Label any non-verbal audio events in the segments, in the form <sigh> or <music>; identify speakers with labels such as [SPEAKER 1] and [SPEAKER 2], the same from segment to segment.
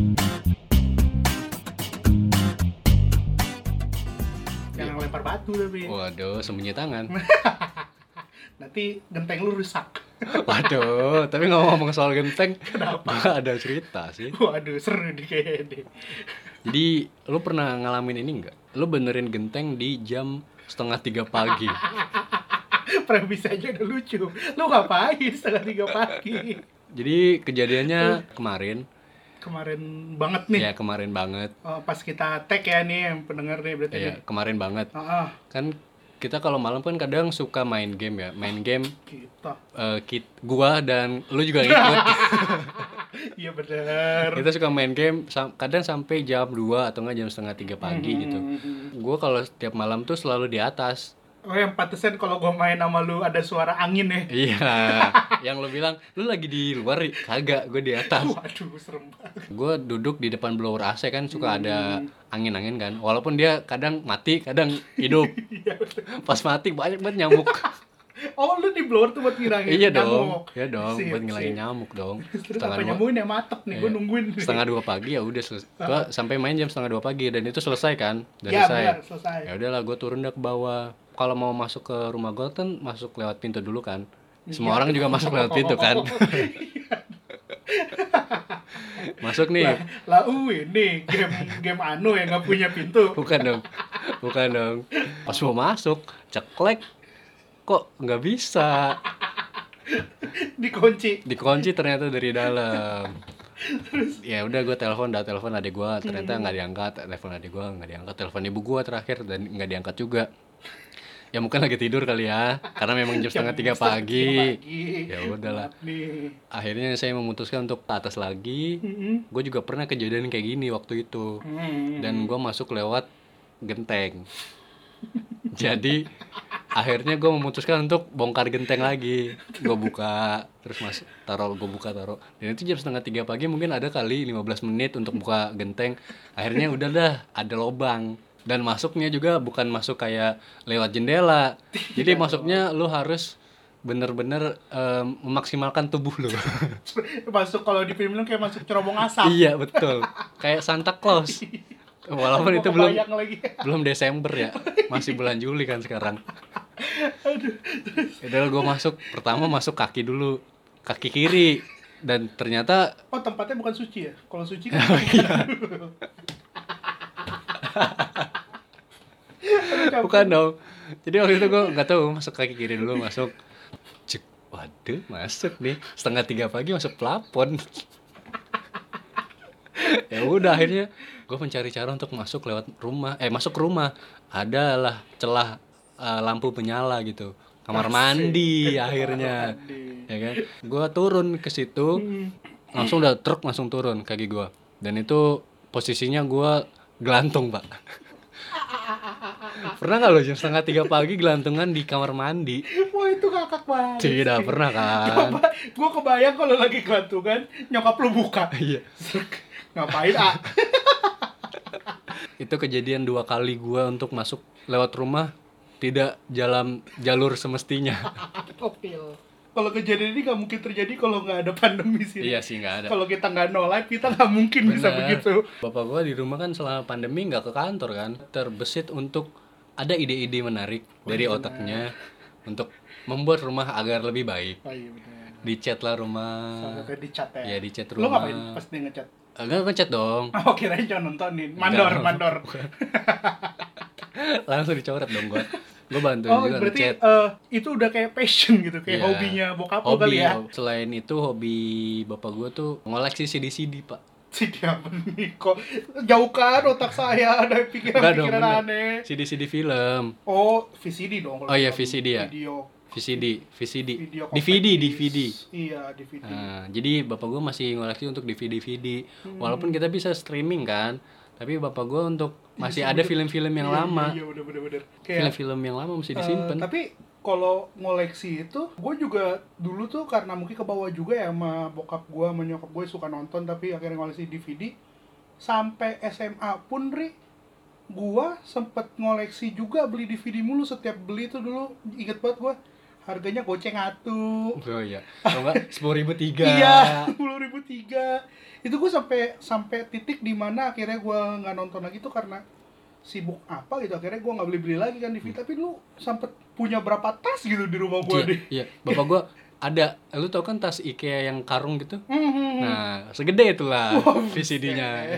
[SPEAKER 1] Iya.
[SPEAKER 2] satu tapi.
[SPEAKER 1] Waduh, sembunyi tangan. <laughs>
[SPEAKER 2] Nanti genteng lu rusak. <laughs>
[SPEAKER 1] Waduh, tapi ngomong-ngomong soal genteng,
[SPEAKER 2] Kenapa?
[SPEAKER 1] malah ada cerita sih.
[SPEAKER 2] Waduh, seru nih kayaknya deh.
[SPEAKER 1] Jadi, lu pernah ngalamin ini nggak? Lu benerin genteng di jam setengah tiga
[SPEAKER 2] <laughs>
[SPEAKER 1] pagi.
[SPEAKER 2] Premis aja udah lucu. Lu ngapain setengah tiga pagi?
[SPEAKER 1] Jadi kejadiannya kemarin,
[SPEAKER 2] Kemarin banget nih.
[SPEAKER 1] ya kemarin banget,
[SPEAKER 2] Oh, pas kita tag ya nih yang pendengar nih berarti.
[SPEAKER 1] ya
[SPEAKER 2] nih.
[SPEAKER 1] kemarin banget.
[SPEAKER 2] Ah, ah,
[SPEAKER 1] Kan kita kalau malam kan kadang suka main game ya, main game
[SPEAKER 2] kita.
[SPEAKER 1] eh, kit- gua dan lu juga ikut.
[SPEAKER 2] <laughs> Iya bener.
[SPEAKER 1] kita suka main game sam- kadang sampai jam 2 atau enggak jam setengah tiga pagi
[SPEAKER 2] Hmm.
[SPEAKER 1] gitu gue kalau setiap malam tuh selalu di atas
[SPEAKER 2] Oh yang pantesan kalau gua main sama lu ada suara angin ya.
[SPEAKER 1] iya yang lo bilang lu lagi di luar Ri?" kagak gue di atas
[SPEAKER 2] Waduh serem banget.
[SPEAKER 1] gue duduk di depan blower AC kan suka ada angin-angin kan walaupun dia kadang mati kadang
[SPEAKER 2] <laughs>
[SPEAKER 1] hidup
[SPEAKER 2] Iya bener.
[SPEAKER 1] pas mati banyak banget nyamuk
[SPEAKER 2] Oh lu di blower tuh buat ngilangin
[SPEAKER 1] iya
[SPEAKER 2] nyamuk.
[SPEAKER 1] dong iya dong
[SPEAKER 2] Sip,
[SPEAKER 1] buat ngilangin
[SPEAKER 2] sip.
[SPEAKER 1] nyamuk dong
[SPEAKER 2] Terus
[SPEAKER 1] setengah
[SPEAKER 2] apa
[SPEAKER 1] dua
[SPEAKER 2] nyemuin ya matep nih, gua
[SPEAKER 1] Iya.
[SPEAKER 2] nungguin. nih.
[SPEAKER 1] setengah dua pagi ya udah selesai Gua sampai main jam setengah dua pagi dan itu selesai kan udah
[SPEAKER 2] Ya
[SPEAKER 1] selesai
[SPEAKER 2] bener, selesai.
[SPEAKER 1] ya udahlah gue turun dah ke bawah kalau mau masuk ke rumah gue kan masuk lewat pintu dulu kan semua orang juga masuk lewat pintu kan masuk nih
[SPEAKER 2] lah uh, ini game game anu yang nggak punya pintu
[SPEAKER 1] bukan dong bukan dong pas mau masuk ceklek kok nggak bisa
[SPEAKER 2] dikunci
[SPEAKER 1] dikunci ternyata dari dalam ya udah gue telepon dah telepon adik gue ternyata nggak diangkat telepon adik gue nggak diangkat telepon ibu gue terakhir dan nggak diangkat juga ya mungkin lagi tidur kali ya karena memang jam setengah tiga
[SPEAKER 2] Setengah
[SPEAKER 1] pagi
[SPEAKER 2] pagi.
[SPEAKER 1] Ya udahlah.
[SPEAKER 2] Maaf nih
[SPEAKER 1] akhirnya saya memutuskan untuk ke atas lagi
[SPEAKER 2] Mm-mm.
[SPEAKER 1] gue juga pernah kejadian kayak gini waktu itu
[SPEAKER 2] Hmm.
[SPEAKER 1] dan gue masuk lewat genteng <laughs> jadi akhirnya gue memutuskan untuk bongkar genteng lagi gue buka terus mas taruh gue buka taruh dan itu jam setengah tiga pagi mungkin ada kali 15 menit untuk buka genteng akhirnya udah dah ada lobang dan masuknya juga bukan masuk kayak lewat jendela jadi masuknya lu harus bener-bener em, memaksimalkan tubuh lu
[SPEAKER 2] masuk kalau di film lu kayak masuk cerobong asap
[SPEAKER 1] iya betul kayak Santa Claus walaupun
[SPEAKER 2] Gua
[SPEAKER 1] itu belum
[SPEAKER 2] kebayang lagi
[SPEAKER 1] belum Desember ya masih bulan Juli kan sekarang Ya
[SPEAKER 2] aduh
[SPEAKER 1] udah gue masuk pertama masuk kaki dulu kaki kiri dan ternyata
[SPEAKER 2] oh tempatnya bukan suci ya kalau suci
[SPEAKER 1] <laughs>
[SPEAKER 2] kan
[SPEAKER 1] Oh, iya.
[SPEAKER 2] Aduh, capek.
[SPEAKER 1] bukan dong jadi waktu itu gue nggak tahu masuk kaki kiri dulu masuk cek waduh masuk nih setengah tiga pagi masuk pelapon ya udah akhirnya gue mencari cara untuk masuk lewat rumah eh masuk ke rumah adalah celah eh, lampu menyala gitu kamar
[SPEAKER 2] Asik.
[SPEAKER 1] mandi akhirnya
[SPEAKER 2] Mandi.
[SPEAKER 1] ya kan gue turun ke situ
[SPEAKER 2] Hmm.
[SPEAKER 1] langsung udah truk langsung turun kaki gua dan itu posisinya gua gelantung pak pernah nggak lo jam setengah tiga pagi gelantungan di kamar mandi
[SPEAKER 2] wah itu kakak banget
[SPEAKER 1] tidak
[SPEAKER 2] sih.
[SPEAKER 1] pernah kan
[SPEAKER 2] <laughs> Coba, gue kebayang kalau lagi gantungan nyokap lu buka.
[SPEAKER 1] iya
[SPEAKER 2] Srek, Ngapain ah?
[SPEAKER 1] itu kejadian dua kali gua untuk masuk lewat rumah tidak jalan jalur semestinya
[SPEAKER 2] Topil. Kalau kejadian ini nggak mungkin terjadi kalau nggak ada pandemi sih.
[SPEAKER 1] iya sih nggak ada
[SPEAKER 2] Kalau kita nggak no life, kita nggak mungkin bisa
[SPEAKER 1] Bener.
[SPEAKER 2] begitu.
[SPEAKER 1] bapak gua di rumah kan selama pandemi nggak ke kantor kan terbesit untuk ada ide-ide menarik
[SPEAKER 2] Oh,
[SPEAKER 1] dari
[SPEAKER 2] iya.
[SPEAKER 1] otaknya untuk membuat rumah agar lebih baik
[SPEAKER 2] Oh iya benar.
[SPEAKER 1] dicat lah rumah
[SPEAKER 2] Sampai di chat ya.
[SPEAKER 1] ya dicat
[SPEAKER 2] Lu
[SPEAKER 1] rumah
[SPEAKER 2] ngapain pas dia ngechat? <laughs>
[SPEAKER 1] agak ngecat dong
[SPEAKER 2] Oh kirain cuma nontonin. Mandor,
[SPEAKER 1] Enggak.
[SPEAKER 2] mandor.
[SPEAKER 1] langsung dicoret dong gua gua bantuin
[SPEAKER 2] Oh
[SPEAKER 1] juga
[SPEAKER 2] berarti
[SPEAKER 1] ngecat
[SPEAKER 2] eh, itu udah kayak passion gitu, kayak
[SPEAKER 1] Iya.
[SPEAKER 2] hobinya bokap lo
[SPEAKER 1] hobi
[SPEAKER 2] kali ya.
[SPEAKER 1] selain itu hobi bapak gua tuh ngoleksi CD CD
[SPEAKER 2] <laughs>
[SPEAKER 1] pak
[SPEAKER 2] <laughs> Si dia kok jauhkan otak saya <laughs> dari
[SPEAKER 1] Enggak dong,
[SPEAKER 2] pikiran-pikiran
[SPEAKER 1] bener.
[SPEAKER 2] aneh.
[SPEAKER 1] CD CD film
[SPEAKER 2] Oh, VCD dong kalau
[SPEAKER 1] Oh iya,
[SPEAKER 2] bukan
[SPEAKER 1] VCD ya.
[SPEAKER 2] Video
[SPEAKER 1] VCD VCD
[SPEAKER 2] video
[SPEAKER 1] DVD
[SPEAKER 2] compact disc.
[SPEAKER 1] DVD
[SPEAKER 2] Iya, DVD.
[SPEAKER 1] Nah, jadi bapak gue masih ngoleksi untuk DVD DVD
[SPEAKER 2] Hmm.
[SPEAKER 1] walaupun kita bisa streaming kan tapi bapak gua untuk masih ada film-film yang
[SPEAKER 2] Iya,
[SPEAKER 1] lama
[SPEAKER 2] Iya, bener bener bener. Kayak
[SPEAKER 1] film-film yang lama mesti
[SPEAKER 2] eh,
[SPEAKER 1] disimpan
[SPEAKER 2] tapi kalau ngoleksi itu, gue juga dulu tuh karena mungkin ke bawah juga ya sama bokap gue, sama nyokap gue suka nonton tapi akhirnya ngoleksi DVD. Sampai SMA pun, Ri, gue sempet ngoleksi juga beli DVD mulu setiap beli itu dulu inget banget gue harganya goceng atuh
[SPEAKER 1] Oh iya.
[SPEAKER 2] <laughs>
[SPEAKER 1] Kalau enggak 10.000 tiga.
[SPEAKER 2] Iya, sepuluh ribu tiga. Itu gue sampai sampai titik di mana akhirnya gue nggak nonton lagi tuh karena sibuk apa gitu akhirnya gue nggak beli beli lagi kan DVD tapi lu sempet punya berapa tas gitu di rumah gue deh
[SPEAKER 1] Iya, iya. bapak gua ada, lu tau kan tas IKEA yang karung gitu?
[SPEAKER 2] Hmm, hmm, hmm.
[SPEAKER 1] Nah, segede
[SPEAKER 2] <laughs>
[SPEAKER 1] itulah
[SPEAKER 2] Wow,
[SPEAKER 1] VCD-nya,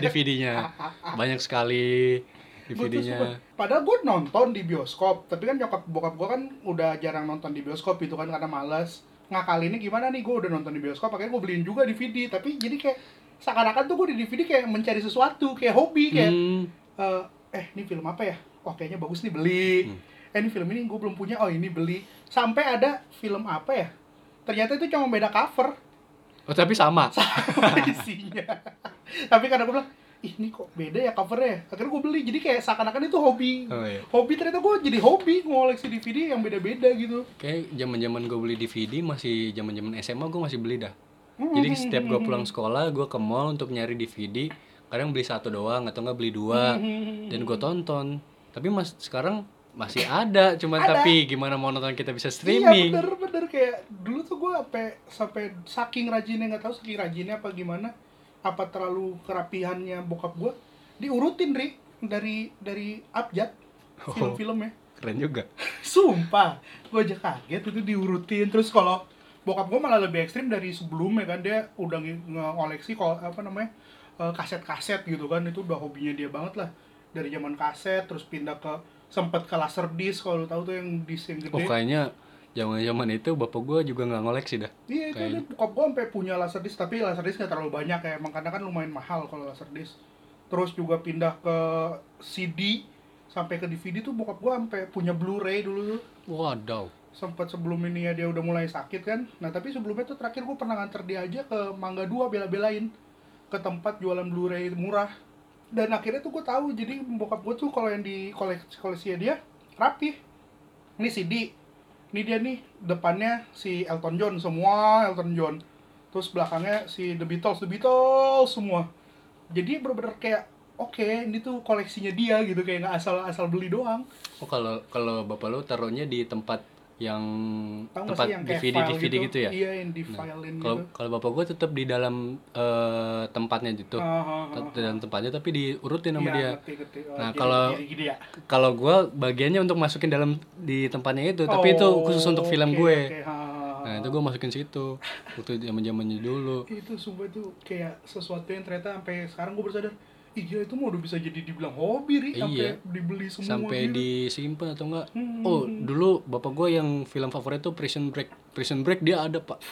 [SPEAKER 2] buset.
[SPEAKER 1] DVD-nya. Banyak sekali
[SPEAKER 2] Gua tuh suka-
[SPEAKER 1] DVD-nya.
[SPEAKER 2] Padahal gue nonton di bioskop, tapi kan nyokap bokap gue kan udah jarang nonton di bioskop itu kan karena males. Ngakalinnya gimana nih gue udah nonton di bioskop, akhirnya gue beliin juga DVD, tapi jadi kayak seakan-akan tuh gue di DVD kayak mencari sesuatu, kayak hobi, Iya, kayak
[SPEAKER 1] Hmm,
[SPEAKER 2] eh, eh ini film apa ya? Oh kayaknya bagus nih beli.
[SPEAKER 1] Hmm.
[SPEAKER 2] Eh ini film ini gue belum punya, oh ini beli. Sampai ada film apa ya? Ternyata itu cuma beda cover <laughs>
[SPEAKER 1] oh, tapi sama.
[SPEAKER 2] sama isinya. tapi karena gue bilang, "Ih, ini kok beda ya covernya. Akhirnya gue beli, jadi kayak seakan-akan itu hobi
[SPEAKER 1] Oh, iya.
[SPEAKER 2] hobi ternyata gue jadi hobi ngoleksi DVD yang beda-beda gitu
[SPEAKER 1] Kayak zaman-zaman gue beli DVD masih zaman-zaman SMA gue masih beli dah. Jadi
[SPEAKER 2] <laughs>
[SPEAKER 1] setiap
[SPEAKER 2] Hmm.
[SPEAKER 1] gue pulang sekolah gue ke mall untuk nyari DVD. Kadang beli satu doang atau nggak beli dua
[SPEAKER 2] Hmm.
[SPEAKER 1] dan gue tonton. Tapi mas sekarang masih ada, cuman
[SPEAKER 2] Ada.
[SPEAKER 1] tapi gimana mau nonton kita bisa
[SPEAKER 2] iya
[SPEAKER 1] streaming?
[SPEAKER 2] bener bener kayak dulu tuh gue sampai sampai saking rajinnya nggak tahu saking rajinnya apa gimana apa terlalu kerapihannya bokap gue diurutin ri dari dari abjad
[SPEAKER 1] Oh.
[SPEAKER 2] film-filmnya <laughs>
[SPEAKER 1] Keren juga.
[SPEAKER 2] Sumpah, gue aja kaget itu diurutin terus kalau bokap gue malah lebih ekstrim dari sebelumnya kan dia udah nge- ngoleksi kol- apa namanya eh, kaset-kaset gitu kan itu udah hobinya dia banget lah dari zaman kaset terus pindah ke sempet ke laser disc kalau lu tahu tuh yang disc yang
[SPEAKER 1] Oh
[SPEAKER 2] gede
[SPEAKER 1] kayaknya zaman-zaman itu bapak gue juga nggak ngoleksi dah.
[SPEAKER 2] iya itu
[SPEAKER 1] kayaknya.
[SPEAKER 2] dia, bokap gue sampai punya laser disc tapi laser disc nggak terlalu banyak ya emang karena kan lumayan mahal kalau laser disc terus juga pindah ke CD sampai ke DVD tuh bokap gue sampai punya Blu-ray dulu tuh
[SPEAKER 1] Waduh.
[SPEAKER 2] sempat sebelum ini ya dia udah mulai sakit kan nah tapi sebelumnya tuh terakhir gue pernah nganter dia aja ke Mangga 2 bela-belain ke tempat jualan Blu-ray murah dan akhirnya tuh gue tahu jadi bokap gue tuh kalau yang di koleksi koleksinya dia rapi ini CD ini dia nih depannya si Elton John semua Elton John terus belakangnya si The Beatles The Beatles semua jadi bener-bener kayak oke ini tuh koleksinya dia gitu kayak nggak asal asal beli doang
[SPEAKER 1] Oh kalau kalau bapak lo taruhnya di tempat yang
[SPEAKER 2] tahu nggak
[SPEAKER 1] tempat
[SPEAKER 2] sih yang kayak
[SPEAKER 1] DVD
[SPEAKER 2] file
[SPEAKER 1] DVD gitu ya?
[SPEAKER 2] iya yang di filein gitu
[SPEAKER 1] Kalau kalau bapak gue tetap di dalam eh, tempatnya gitu,
[SPEAKER 2] Ah, ah, ah.
[SPEAKER 1] Tet- di dalam tempatnya tapi diurutin sama
[SPEAKER 2] Iya,
[SPEAKER 1] dia.
[SPEAKER 2] ngerti, ngerti. Oh,
[SPEAKER 1] Nah,
[SPEAKER 2] jadi
[SPEAKER 1] kalau-
[SPEAKER 2] gini-gini ya.
[SPEAKER 1] Kalau gue bagiannya untuk masukin dalam di tempatnya itu, tapi itu
[SPEAKER 2] Oh,
[SPEAKER 1] khusus untuk
[SPEAKER 2] oke,
[SPEAKER 1] film gue.
[SPEAKER 2] oke, ha, ha, ha.
[SPEAKER 1] Nah itu gue masukin situ waktu zaman zamannya dulu.
[SPEAKER 2] itu sumpah tuh kayak sesuatu yang ternyata sampai sekarang gue bersadar Ih gila itu mau udah bisa jadi dibilang hobi ri sampai
[SPEAKER 1] Iya.
[SPEAKER 2] dibeli semua
[SPEAKER 1] sampai
[SPEAKER 2] gitu.
[SPEAKER 1] disimpan atau enggak
[SPEAKER 2] Hmm.
[SPEAKER 1] oh dulu bapak gue yang film favorit tuh Prison Break Prison Break dia ada pak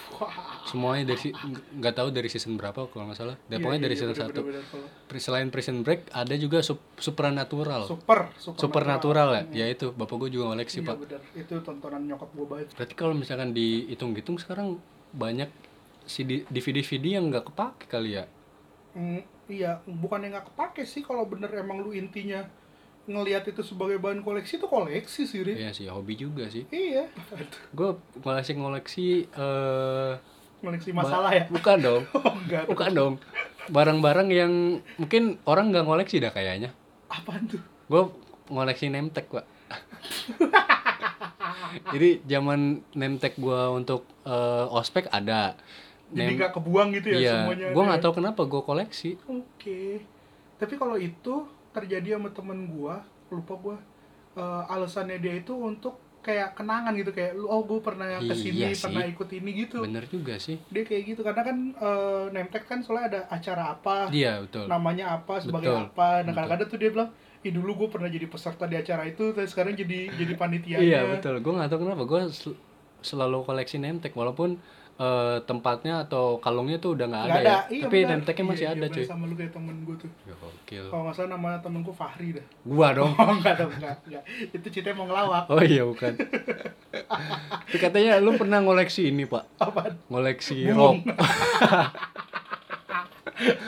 [SPEAKER 1] semuanya dari si- nggak- nggak tahu dari season berapa kalau nggak salah
[SPEAKER 2] Iya,
[SPEAKER 1] Dan pokoknya
[SPEAKER 2] iya,
[SPEAKER 1] dari
[SPEAKER 2] iya,
[SPEAKER 1] season
[SPEAKER 2] bener,
[SPEAKER 1] satu
[SPEAKER 2] bener, bener. Kalau
[SPEAKER 1] Pri- selain Prison Break ada juga sup- supernatural
[SPEAKER 2] super
[SPEAKER 1] supernatural ya ya itu bapak gue juga ngoleksi
[SPEAKER 2] Iya,
[SPEAKER 1] pak
[SPEAKER 2] bener. itu tontonan nyokap gue banget
[SPEAKER 1] berarti kalau misalkan dihitung-hitung sekarang banyak CD, DVD-DVD yang nggak kepake kali ya
[SPEAKER 2] Mm, iya bukan yang nggak kepake sih kalau bener emang lu intinya ngelihat itu sebagai bahan koleksi itu koleksi sih ri
[SPEAKER 1] Iya sih hobi juga sih
[SPEAKER 2] iya <laughs>
[SPEAKER 1] gue ngoleksi ngoleksi eh
[SPEAKER 2] koleksi
[SPEAKER 1] ba-
[SPEAKER 2] masalah ya <laughs>
[SPEAKER 1] bukan dong
[SPEAKER 2] oh, enggak
[SPEAKER 1] Bukan dong. Barang-barang yang mungkin orang nggak ngoleksi dah kayaknya.
[SPEAKER 2] apaan tuh
[SPEAKER 1] Gue ngoleksi nemtek, Pak. <laughs> Jadi zaman nemtek gua untuk eh, ospek ada.
[SPEAKER 2] jadi
[SPEAKER 1] Nem-
[SPEAKER 2] nggak kebuang gitu ya
[SPEAKER 1] iya,
[SPEAKER 2] semuanya
[SPEAKER 1] gua
[SPEAKER 2] ada
[SPEAKER 1] nggak
[SPEAKER 2] ya?
[SPEAKER 1] tahu kenapa gua koleksi.
[SPEAKER 2] oke tapi kalau itu terjadi sama temen gua lupa gua eh, alasannya dia itu untuk kayak kenangan gitu kayak lu oh gua pernah
[SPEAKER 1] Iya
[SPEAKER 2] kesini
[SPEAKER 1] sih.
[SPEAKER 2] pernah ikut ini gitu
[SPEAKER 1] Bener juga sih.
[SPEAKER 2] dia kayak gitu karena kan eh, nemtek kan soalnya ada acara apa
[SPEAKER 1] Iya, betul.
[SPEAKER 2] namanya apa sebagai
[SPEAKER 1] Betul.
[SPEAKER 2] apa nah
[SPEAKER 1] Betul.
[SPEAKER 2] kadang-kadang tuh dia bilang Ih dulu gue pernah jadi peserta di acara itu, tapi sekarang jadi jadi panitianya.
[SPEAKER 1] <laughs> Iya, betul. Gua nggak tahu kenapa gua sel- selalu koleksi nemtek walaupun eh, tempatnya atau kalungnya tuh udah nggak ada,
[SPEAKER 2] Nggak
[SPEAKER 1] ya.
[SPEAKER 2] iya,
[SPEAKER 1] Tapi
[SPEAKER 2] benar.
[SPEAKER 1] nemteknya masih
[SPEAKER 2] Iya, iya,
[SPEAKER 1] ada,
[SPEAKER 2] benar
[SPEAKER 1] cuy.
[SPEAKER 2] Sama lu kayak temen gue tuh.
[SPEAKER 1] Ya, Gokil.
[SPEAKER 2] Kalau nggak salah nama temen gue Fahri dah.
[SPEAKER 1] Gua dong.
[SPEAKER 2] <laughs> Oh, enggak dong, enggak, enggak. Itu ceritanya mau ngelawak. <laughs>
[SPEAKER 1] Oh iya bukan. Tapi katanya lu pernah ngoleksi ini pak,
[SPEAKER 2] Apaan?
[SPEAKER 1] ngoleksi rock.
[SPEAKER 2] Bung.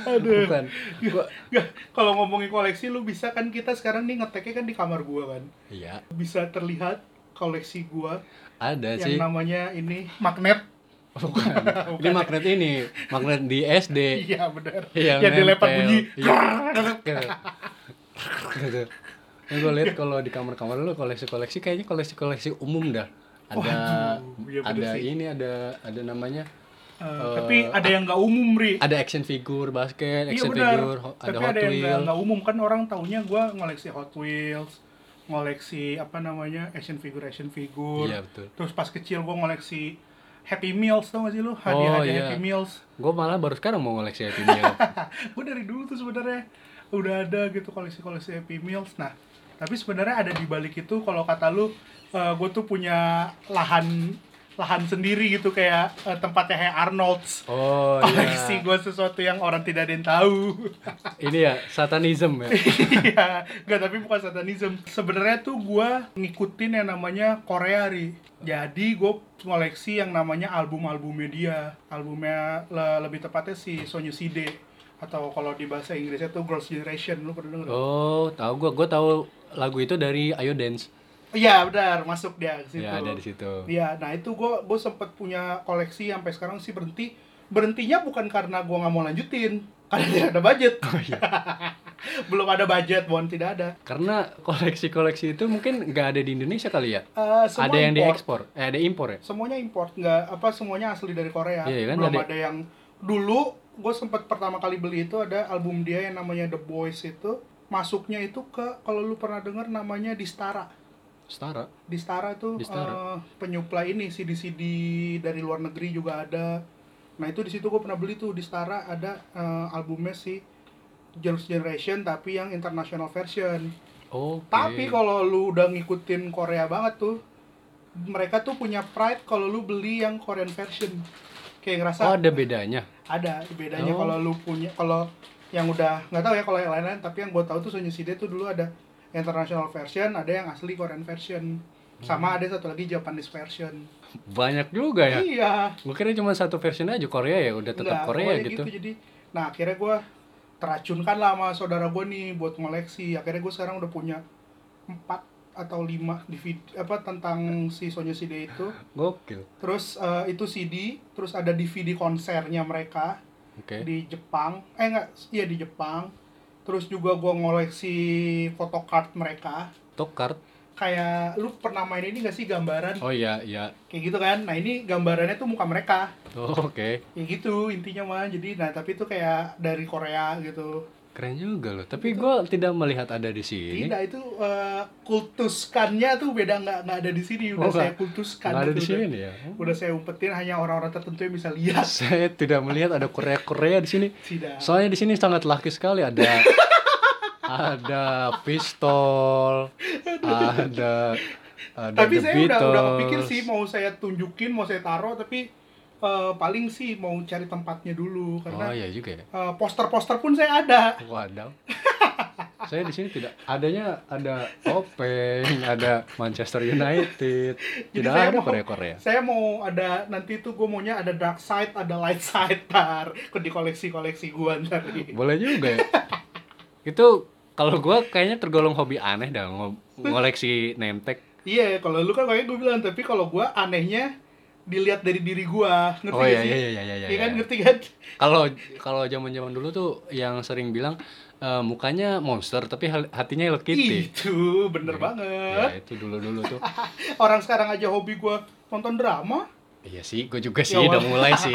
[SPEAKER 2] Aduh.
[SPEAKER 1] bukan. Gua-
[SPEAKER 2] Enggak, kalau ngomongin koleksi lu bisa kan kita sekarang nih ngeteknya kan di kamar gua kan.
[SPEAKER 1] Iya
[SPEAKER 2] Bisa terlihat koleksi gua
[SPEAKER 1] ada
[SPEAKER 2] yang
[SPEAKER 1] Iya sih. Oh,
[SPEAKER 2] namanya ini magnet. <laughs>
[SPEAKER 1] Bukan. Ini magnet ini, magnet di SD.
[SPEAKER 2] Iya, benar.
[SPEAKER 1] Iya,
[SPEAKER 2] yang dilempar
[SPEAKER 1] nempel.
[SPEAKER 2] bunyi.
[SPEAKER 1] <laughs> Iya. gitu. Yang gue lihat kalau di kamar-kamar lu koleksi-koleksi kayaknya koleksi-koleksi umum dah. Ada
[SPEAKER 2] Waduh, iya bener
[SPEAKER 1] ada
[SPEAKER 2] sih.
[SPEAKER 1] ini ada ada namanya
[SPEAKER 2] Eh, tapi ada yang nggak umum ri
[SPEAKER 1] Ada action figure
[SPEAKER 2] iya
[SPEAKER 1] basket, action
[SPEAKER 2] benar
[SPEAKER 1] figure, ho- ada
[SPEAKER 2] tapi
[SPEAKER 1] Hot
[SPEAKER 2] ada yang nggak-
[SPEAKER 1] Wheel.
[SPEAKER 2] nggak umum kan orang taunya gue ngoleksi Hot Wheels ngoleksi apa namanya action figure action figure
[SPEAKER 1] Iya betul.
[SPEAKER 2] terus pas kecil gue ngoleksi Happy Meals tau gak sih lu hadiah-hadiah
[SPEAKER 1] iya.
[SPEAKER 2] Happy Meals
[SPEAKER 1] Gue malah baru sekarang mau ngoleksi Happy
[SPEAKER 2] <laughs>
[SPEAKER 1] Meal.
[SPEAKER 2] gue dari dulu tuh sebenarnya udah ada gitu koleksi-koleksi Happy Meals nah tapi sebenarnya ada di balik itu kalau kata lu gue tuh punya lahan lahan sendiri gitu kayak eh, tempatnya kayak Arnold's
[SPEAKER 1] Oh
[SPEAKER 2] koleksi
[SPEAKER 1] iya.
[SPEAKER 2] gue sesuatu yang orang tidak ada yang tahu
[SPEAKER 1] Ini ya satanism ya.
[SPEAKER 2] iya nggak tapi bukan satanism sebenarnya tuh gue ngikutin yang namanya Korea ri jadi gue koleksi yang namanya album-albumnya dia albumnya le- lebih tepatnya si Sonyu Side atau kalau di bahasa Inggrisnya tuh Girls Generation lu pernah denger
[SPEAKER 1] Oh, tahu gua. Gua tahu lagu itu dari Ayo Dance.
[SPEAKER 2] iya benar masuk dia ke situ
[SPEAKER 1] Ya, ada di situ.
[SPEAKER 2] Iya, nah itu gue gue sempet punya koleksi sampai sekarang sih berhenti. Berhentinya bukan karena gue nggak mau lanjutin, karena tidak ada budget.
[SPEAKER 1] Oh, iya.
[SPEAKER 2] <laughs> Belum ada budget, bon tidak ada.
[SPEAKER 1] Karena koleksi-koleksi itu mungkin nggak ada di Indonesia kali ya.
[SPEAKER 2] Eh, semua
[SPEAKER 1] Ada yang
[SPEAKER 2] import.
[SPEAKER 1] diekspor, eh ada impor ya.
[SPEAKER 2] Semuanya import, nggak apa semuanya asli dari Korea.
[SPEAKER 1] Iya, kan,
[SPEAKER 2] Belum
[SPEAKER 1] ada-
[SPEAKER 2] ada, yang dulu gue sempet pertama kali beli itu ada album dia yang namanya The Boys itu masuknya itu ke kalau lu pernah denger namanya Distara.
[SPEAKER 1] Setara.
[SPEAKER 2] Distara itu eh,
[SPEAKER 1] Distara.
[SPEAKER 2] penyuplai ini CD-CD dari luar negeri juga ada. Nah itu di situ gue pernah beli tuh Distara ada eh, albumnya si Girls Generation tapi yang international version.
[SPEAKER 1] Oh.
[SPEAKER 2] Tapi kalau lu udah ngikutin Korea banget tuh, mereka tuh punya pride kalau lu beli yang Korean version. Kayak ngerasa
[SPEAKER 1] Oh, ada bedanya.
[SPEAKER 2] ada bedanya
[SPEAKER 1] Oh.
[SPEAKER 2] kalau lu punya kalau yang udah nggak tahu ya kalau yang lain-lain tapi yang gue tahu tuh Sony CD tuh dulu ada international version ada yang asli Korean version
[SPEAKER 1] Hmm.
[SPEAKER 2] sama ada satu lagi Japanese version
[SPEAKER 1] Banyak juga ya.
[SPEAKER 2] iya
[SPEAKER 1] Gue kira cuma satu version aja Korea ya, udah tetap
[SPEAKER 2] Nggak,
[SPEAKER 1] Korea
[SPEAKER 2] Iya, pokoknya
[SPEAKER 1] gitu.
[SPEAKER 2] jadi nah akhirnya gue teracunkan lah sama saudara gue nih buat ngoleksi akhirnya gue sekarang udah punya empat atau lima DVD apa tentang si Sony CD itu
[SPEAKER 1] Gokil.
[SPEAKER 2] terus eh, itu CD terus ada DVD konsernya mereka
[SPEAKER 1] Oke.
[SPEAKER 2] di Jepang eh enggak iya di Jepang terus juga gua ngoleksi photocard mereka
[SPEAKER 1] Tokart.
[SPEAKER 2] kayak lu pernah main ini gak sih gambaran
[SPEAKER 1] Oh iya, iya.
[SPEAKER 2] kayak gitu kan nah ini gambarannya tuh muka mereka
[SPEAKER 1] Oh, Oke.
[SPEAKER 2] ya gitu intinya mah jadi nah tapi itu kayak dari Korea gitu
[SPEAKER 1] Keren juga loh. Tapi gua tidak melihat ada di sini.
[SPEAKER 2] tidak itu eh, kultuskannya tuh beda nggak nggak ada di sini udah
[SPEAKER 1] Oh,
[SPEAKER 2] saya
[SPEAKER 1] nggak-
[SPEAKER 2] kultuskan
[SPEAKER 1] Nggak ada
[SPEAKER 2] itu
[SPEAKER 1] di
[SPEAKER 2] udah,
[SPEAKER 1] sini nih ya.
[SPEAKER 2] udah saya umpetin hanya orang-orang tertentu yang bisa lihat <laughs>
[SPEAKER 1] Saya tidak melihat ada Korea-Korea di sini.
[SPEAKER 2] tidak
[SPEAKER 1] Soalnya di sini sangat laki sekali ada ada pistol, ada ada
[SPEAKER 2] tapi
[SPEAKER 1] The
[SPEAKER 2] saya udah
[SPEAKER 1] Beatles.
[SPEAKER 2] udah kepikir sih mau saya tunjukin mau saya taruh tapi eh, paling sih mau cari tempatnya dulu
[SPEAKER 1] Oh
[SPEAKER 2] karena
[SPEAKER 1] iya juga ya.
[SPEAKER 2] eh, poster-poster pun saya ada
[SPEAKER 1] Waduh. <laughs> Saya di sini tidak adanya ada Open, ada Manchester United,
[SPEAKER 2] Jadi
[SPEAKER 1] tidak
[SPEAKER 2] saya
[SPEAKER 1] ada
[SPEAKER 2] mau-
[SPEAKER 1] Korea-Korea.
[SPEAKER 2] saya mau ada nanti tuh gue maunya ada dark side ada light side <laughs> tar ke di koleksi koleksi gue ntar nih.
[SPEAKER 1] Boleh juga ya. Itu kalau gua kayaknya tergolong hobi aneh dah ngo- ngoleksi name tag.
[SPEAKER 2] iya kalau lu kan kayak gue bilang tapi kalau gue anehnya dilihat dari diri gue ngerti
[SPEAKER 1] Oh
[SPEAKER 2] gak
[SPEAKER 1] iya
[SPEAKER 2] sih
[SPEAKER 1] iya iya iya iya.
[SPEAKER 2] Iya kan
[SPEAKER 1] iya.
[SPEAKER 2] ngerti kan
[SPEAKER 1] Kalau kalau zaman-zaman dulu tuh yang sering bilang eh, mukanya monster tapi hal- hatinya Hello Kitty.
[SPEAKER 2] itu bener
[SPEAKER 1] Gitu. Iya.
[SPEAKER 2] banget
[SPEAKER 1] Ya itu dulu-dulu tuh.
[SPEAKER 2] orang sekarang aja hobi gue nonton drama
[SPEAKER 1] Iya sih, gue juga
[SPEAKER 2] Ya,
[SPEAKER 1] sih udah
[SPEAKER 2] wal-
[SPEAKER 1] mulai sih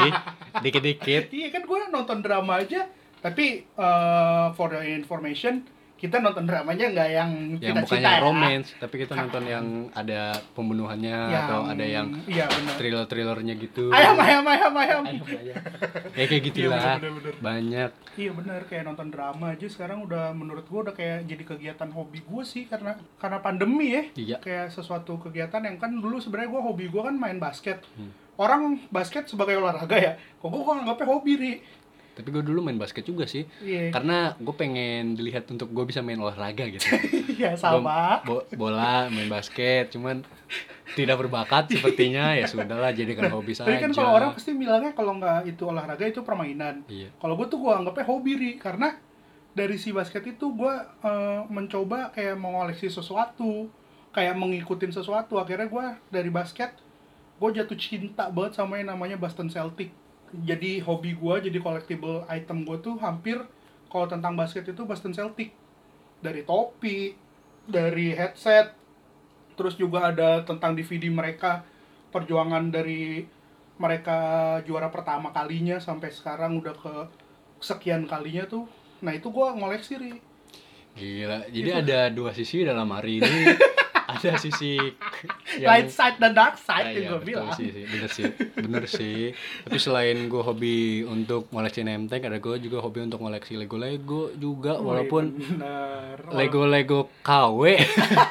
[SPEAKER 1] dikit-dikit.
[SPEAKER 2] Iya kan gue nonton drama aja, tapi eh, for your information kita nonton dramanya nggak yang
[SPEAKER 1] yang
[SPEAKER 2] kita
[SPEAKER 1] bukannya
[SPEAKER 2] cinta ya.
[SPEAKER 1] romance tapi kita nonton yang ada pembunuhannya
[SPEAKER 2] Yang-
[SPEAKER 1] atau ada yang
[SPEAKER 2] iya benar.
[SPEAKER 1] thriller thrillernya gitu
[SPEAKER 2] Ayam ayam ayam ayam.
[SPEAKER 1] Ayam, ayam. ya
[SPEAKER 2] Iya,
[SPEAKER 1] kayak gitulah
[SPEAKER 2] bener-bener.
[SPEAKER 1] banyak
[SPEAKER 2] Iya benar kayak nonton drama aja sekarang udah menurut gue udah kayak jadi kegiatan hobi gue sih karena karena pandemi ya.
[SPEAKER 1] Iya.
[SPEAKER 2] Kayak sesuatu kegiatan yang kan dulu sebenarnya gue hobi gue kan main basket. Orang basket sebagai olahraga ya, kok gue kok anggapnya hobi ri. <laughs>
[SPEAKER 1] tapi gue dulu main basket juga sih
[SPEAKER 2] Iya.
[SPEAKER 1] karena gue pengen dilihat untuk gue bisa main olahraga gitu
[SPEAKER 2] Iya <laughs> sama.
[SPEAKER 1] Gua bo- bola main basket cuman tidak berbakat
[SPEAKER 2] <laughs>
[SPEAKER 1] sepertinya ya sudahlah jadikan hobi saja
[SPEAKER 2] Tapi kan kalau orang pasti bilangnya kalau nggak itu olahraga itu permainan.
[SPEAKER 1] iya
[SPEAKER 2] Kalau gue tuh gue anggapnya hobi ri karena dari si basket itu gue eh, mencoba kayak mengoleksi sesuatu, kayak mengikutin sesuatu. Akhirnya gue dari basket gue jatuh cinta banget sama yang namanya Boston Celtic. Jadi hobi gue jadi collectible item gue tuh hampir kalau tentang basket itu Boston Celtic dari topi, dari headset, terus juga ada tentang DVD mereka perjuangan dari mereka juara pertama kalinya sampai sekarang udah ke sekian kalinya tuh nah itu gua ngoleksi ri
[SPEAKER 1] Gila. Jadi ada dua sisi dalam hari
[SPEAKER 2] <laughs>
[SPEAKER 1] ini. ada sisi
[SPEAKER 2] light side dan dark
[SPEAKER 1] Ah,
[SPEAKER 2] side
[SPEAKER 1] iya,
[SPEAKER 2] yang gua
[SPEAKER 1] betul
[SPEAKER 2] bilang
[SPEAKER 1] sih, sih. Bener sih. Bener sih. Tapi selain gue hobi untuk ngoleksi nemtek, ada gue juga hobi untuk ngoleksi Lego-Lego juga. Walaupun
[SPEAKER 2] Oh, iya, Bener.
[SPEAKER 1] Lego-Lego KW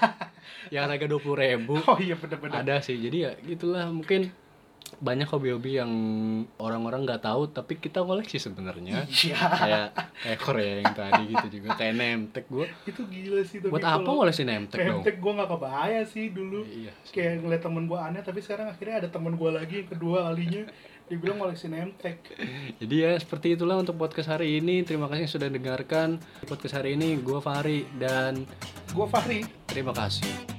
[SPEAKER 1] <laughs> yang harga 20.000 ribu.
[SPEAKER 2] oh iya bener-bener
[SPEAKER 1] ada sih jadi ya gitulah mungkin banyak hobi-hobi yang orang-orang nggak tahu tapi kita koleksi
[SPEAKER 2] <laughs>
[SPEAKER 1] sebenarnya
[SPEAKER 2] iya
[SPEAKER 1] kayak kayak Korea yang tadi gitu juga kayak nemtek gue
[SPEAKER 2] itu gila sih tapi
[SPEAKER 1] buat apa
[SPEAKER 2] kalau
[SPEAKER 1] ngoleksi nemtek dong
[SPEAKER 2] Pemtek gue gak kebahaya sih dulu
[SPEAKER 1] iya sih.
[SPEAKER 2] Kayak ngeliat temen gue aneh tapi sekarang akhirnya ada temen gue lagi yang kedua kalinya Dibilang ngoleksi nemtek
[SPEAKER 1] jadi ya seperti itulah untuk podcast hari ini terima kasih sudah dengarkan podcast hari ini gue Fahri dan
[SPEAKER 2] Gue Fahri
[SPEAKER 1] terima kasih